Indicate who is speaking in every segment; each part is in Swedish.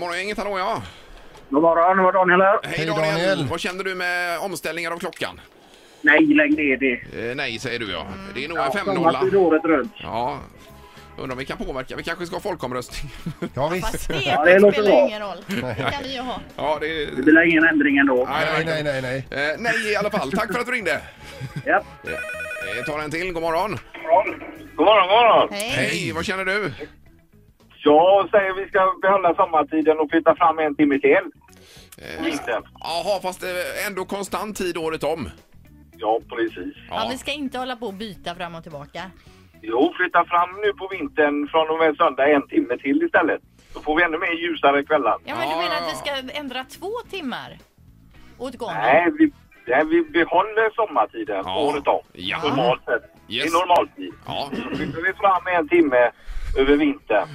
Speaker 1: Morgongänget, hallå ja.
Speaker 2: God morgon, det var Daniel här.
Speaker 1: Hej
Speaker 3: Hej,
Speaker 1: Daniel.
Speaker 3: Daniel.
Speaker 1: Vad känner du med omställningar av klockan?
Speaker 2: Nej, lägg ner det.
Speaker 1: Eh, nej, säger du ja. Det är nog en
Speaker 2: Sommartid
Speaker 1: femnolla.
Speaker 2: året runt.
Speaker 1: Ja. Undrar om vi kan påverka. Vi kanske ska ha folkomröstning.
Speaker 3: Ja,
Speaker 4: Fast
Speaker 3: visst.
Speaker 4: det,
Speaker 2: Ja, det låter
Speaker 4: spelar
Speaker 2: bra.
Speaker 4: ju ingen roll. Det kan vi ju ha.
Speaker 1: ja, det...
Speaker 2: Det blir ingen ändring ändå.
Speaker 3: Nej, nej, nej, nej.
Speaker 1: Eh, nej, i alla fall. Tack för att du ringde.
Speaker 2: Ja.
Speaker 1: Eh, tar en till. God morgon.
Speaker 5: God morgon, god morgon.
Speaker 4: Hej.
Speaker 1: Hej, vad känner du?
Speaker 5: Jag säger vi ska behålla sommartiden och flytta fram en timme till.
Speaker 1: Eh.
Speaker 5: Vintern.
Speaker 1: Jaha, fast eh, ändå konstant tid året om.
Speaker 5: Ja, precis.
Speaker 4: Ja, vi ska inte hålla på och byta fram och tillbaka.
Speaker 5: Jo, flytta fram nu på vintern från och med söndag en timme till istället. Då får vi ännu mer ljusare kvällar.
Speaker 4: Ja, men du
Speaker 1: Ja,
Speaker 4: menar
Speaker 1: ja,
Speaker 4: att vi ska ändra två timmar åt gången?
Speaker 5: Nej, vi, nej, vi behåller sommartiden
Speaker 1: Ja.
Speaker 5: året om.
Speaker 1: Ja.
Speaker 5: Normalt sett.
Speaker 1: Yes.
Speaker 5: I normaltid.
Speaker 1: Ja,
Speaker 5: Flyttar vi fram en timme över vintern.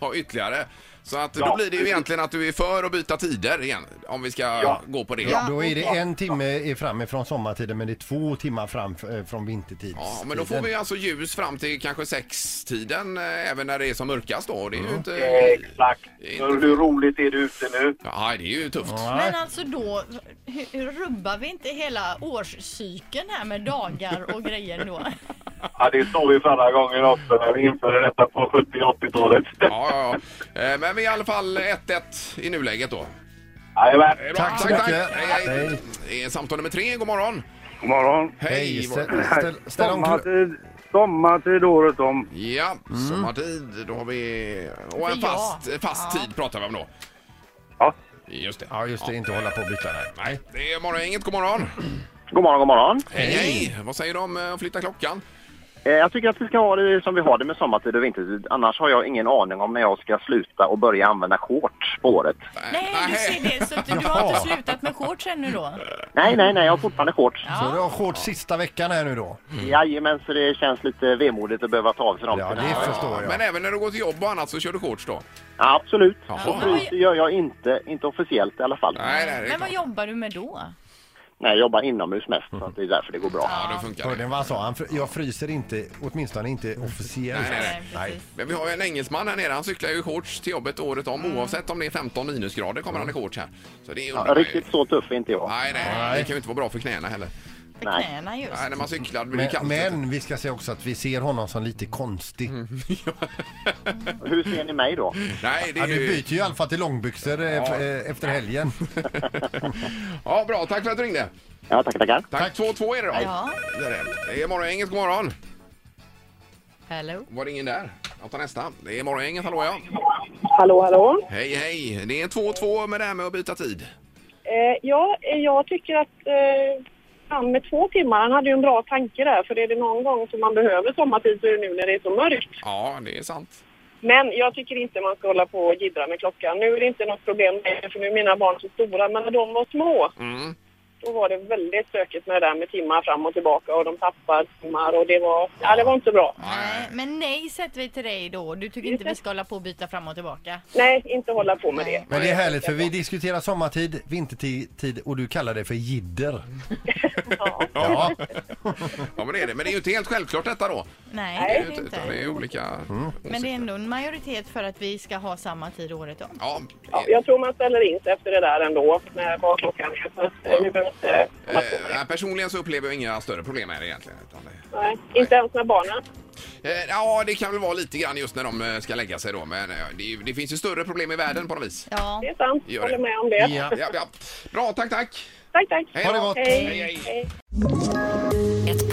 Speaker 1: ja ytterligare. Så att då
Speaker 5: Ja.
Speaker 1: blir det ju egentligen att du är för att byta tider igen, om vi ska
Speaker 5: Ja.
Speaker 1: gå på det.
Speaker 4: Ja.
Speaker 3: Då är det en timme framifrån sommartiden men det är två timmar fram eh, från vintertid.
Speaker 1: Ja, men då får vi alltså ljus fram till kanske sextiden, eh, även när det är som mörkast då. Det är
Speaker 3: Mm.
Speaker 1: ju inte...
Speaker 5: Exakt.
Speaker 1: Inte-
Speaker 5: Hur hur roligt är det ute nu?
Speaker 1: Ja, det är ju tufft.
Speaker 4: Men alltså då, hur, hur rubbar vi inte hela årscykeln här med dagar och grejer då?
Speaker 5: Ja, det sa vi förra gången också när vi införde detta på 70 och 80-talet.
Speaker 1: Ja, ja, ja. Eh, Men vi är i alla fall 1-1 i nuläget då.
Speaker 5: Jajamän.
Speaker 1: Eh, bra.
Speaker 3: Tack så mycket.
Speaker 1: Hej, hej.
Speaker 3: Hej.
Speaker 1: Det är Samtal nummer tre, god morgon.
Speaker 6: God morgon.
Speaker 3: Hej,
Speaker 1: Hej.
Speaker 3: ställ,
Speaker 1: Mor-
Speaker 3: ställ, ställ om klo-
Speaker 6: Sommartid, sommartid året om.
Speaker 1: Ja,
Speaker 3: Mm.
Speaker 1: sommartid. Då har vi... Och en
Speaker 4: Ja.
Speaker 1: fast, fast
Speaker 4: Ja.
Speaker 1: tid pratar vi om då.
Speaker 6: Ja.
Speaker 1: Just det.
Speaker 3: Ja, just det. Inte hålla på och byta nej.
Speaker 1: Nej, det är morgongänget. God morgon.
Speaker 5: God morgon, god morgon.
Speaker 1: Hej. hej. Vad säger du om eh, att flytta klockan?
Speaker 5: Eh, Jag tycker att vi ska ha det som vi har det med sommartid och vintertid. Annars har jag ingen aning om när jag ska sluta och börja använda shorts på året.
Speaker 4: Nej, du
Speaker 1: Nähä.
Speaker 4: ser det. Så att du, du
Speaker 3: Jaha.
Speaker 4: har inte slutat med shorts ännu då?
Speaker 5: Nej, nej, nej, jag har fortfarande shorts.
Speaker 3: Så du
Speaker 4: Ja.
Speaker 3: har shorts sista veckan här nu då?
Speaker 5: Jajamän, så det känns lite vemodigt att behöva ta av sig dem.
Speaker 3: Ja, det förstår
Speaker 1: Men
Speaker 3: jag.
Speaker 1: även när du går till jobb och annat så kör du shorts då?
Speaker 5: Ja, absolut.
Speaker 1: Jaha.
Speaker 5: Och fryser gör jag inte, inte officiellt i alla fall.
Speaker 1: Nej, nej, det är
Speaker 4: Men vad
Speaker 1: klart.
Speaker 4: jobbar du med då?
Speaker 5: Nej, jag jobbar inomhus mest, så att det är därför det går bra.
Speaker 1: Ja, det funkar.
Speaker 3: Hörde
Speaker 1: det.
Speaker 3: ni vad han sa? Han fr- jag fryser inte, åtminstone inte officiellt.
Speaker 1: Nej, nej,
Speaker 3: nej.
Speaker 1: Men vi har ju en engelsman här nere. Han cyklar ju i shorts till jobbet året om.
Speaker 4: Mm.
Speaker 1: Oavsett om det är 15 minusgrader kommer han i shorts här. Så det är
Speaker 5: Ja, riktigt så tuff är inte jag.
Speaker 1: Nej, nej,
Speaker 3: Nej.
Speaker 1: Det kan ju inte vara bra för knäna heller.
Speaker 4: För
Speaker 5: Nej.
Speaker 4: knäna just.
Speaker 1: Nej, när man cyklar blir det
Speaker 3: Men,
Speaker 1: kallt.
Speaker 3: men vi ska säga också att vi ser honom som lite konstig.
Speaker 1: Mm.
Speaker 5: Hur ser ni mig då?
Speaker 1: Nej, det
Speaker 3: Ja,
Speaker 1: är
Speaker 3: du
Speaker 1: ju...
Speaker 3: byter ju i alla fall till långbyxor eh, f- eh, efter helgen.
Speaker 1: Ja, bra. Tack för att du ringde.
Speaker 5: Ja, tackar, tackar.
Speaker 1: Tack. 2-2 är det då.
Speaker 4: Ja.
Speaker 1: Det är det. Det är Morgongänget. God morgon.
Speaker 4: Hello.
Speaker 1: Var det ingen där? Jag tar nästa. Det är Morgongänget. Hallå, ja.
Speaker 7: Hallå, hallå.
Speaker 1: Hej, hej. Det är 2-2 med det här med att byta tid.
Speaker 7: Eh, ja, eh, jag tycker att eh, han med två timmar, han hade ju en bra tanke där. För är det någon gång som man behöver sommartid så är det nu när det är så mörkt.
Speaker 1: Ja, det är sant.
Speaker 7: Men jag tycker inte man ska hålla på och jiddra med klockan. Nu är det inte något problem längre, för nu är mina barn så stora. Men när de var små,
Speaker 1: Mm.
Speaker 7: då var det väldigt stökigt med det där med timmar fram och tillbaka och de tappade timmar och det var, ja det var inte bra.
Speaker 4: Nej, men nej sätter vi till dig då. Du tycker inte vi ska hålla på och byta fram och tillbaka?
Speaker 7: Nej, inte hålla på med det.
Speaker 3: Men det är härligt för vi diskuterar sommartid, vintertid och du kallar det för jidder. Ja.
Speaker 1: Ja, men det är det. Men det är ju inte helt självklart detta då.
Speaker 4: Nej,
Speaker 1: Det är
Speaker 4: det
Speaker 1: ju
Speaker 4: är
Speaker 1: inte,
Speaker 4: det
Speaker 1: utan det är
Speaker 4: inte.
Speaker 1: olika
Speaker 3: Mm.
Speaker 1: åsikter.
Speaker 4: Men det är ändå en majoritet för att vi ska ha samma tid året om.
Speaker 1: Ja,
Speaker 7: Ja, jag tror man ställer in sig efter det där ändå, med vad klockan är. Så att, eh, nu behöver man inte hålla på med
Speaker 1: eh, eh, personligen så upplever jag inga större problem här egentligen. Utan det,
Speaker 7: det. Nej, inte ens med barnen.
Speaker 1: Eh, Ja, det kan väl vara lite grann just när de eh, ska lägga sig då. Men eh, det, är ju- det finns ju större problem i världen på något vis.
Speaker 4: Ja.
Speaker 7: Det är sant.
Speaker 1: Gör det.
Speaker 7: Håller med om det.
Speaker 3: Ja.
Speaker 1: Ja, ja. Bra, tack, tack.
Speaker 7: Tack, tack.
Speaker 1: Hej
Speaker 3: Ha det
Speaker 1: då.
Speaker 3: gott.
Speaker 1: Hej, hej.
Speaker 7: Hej.
Speaker 8: Ett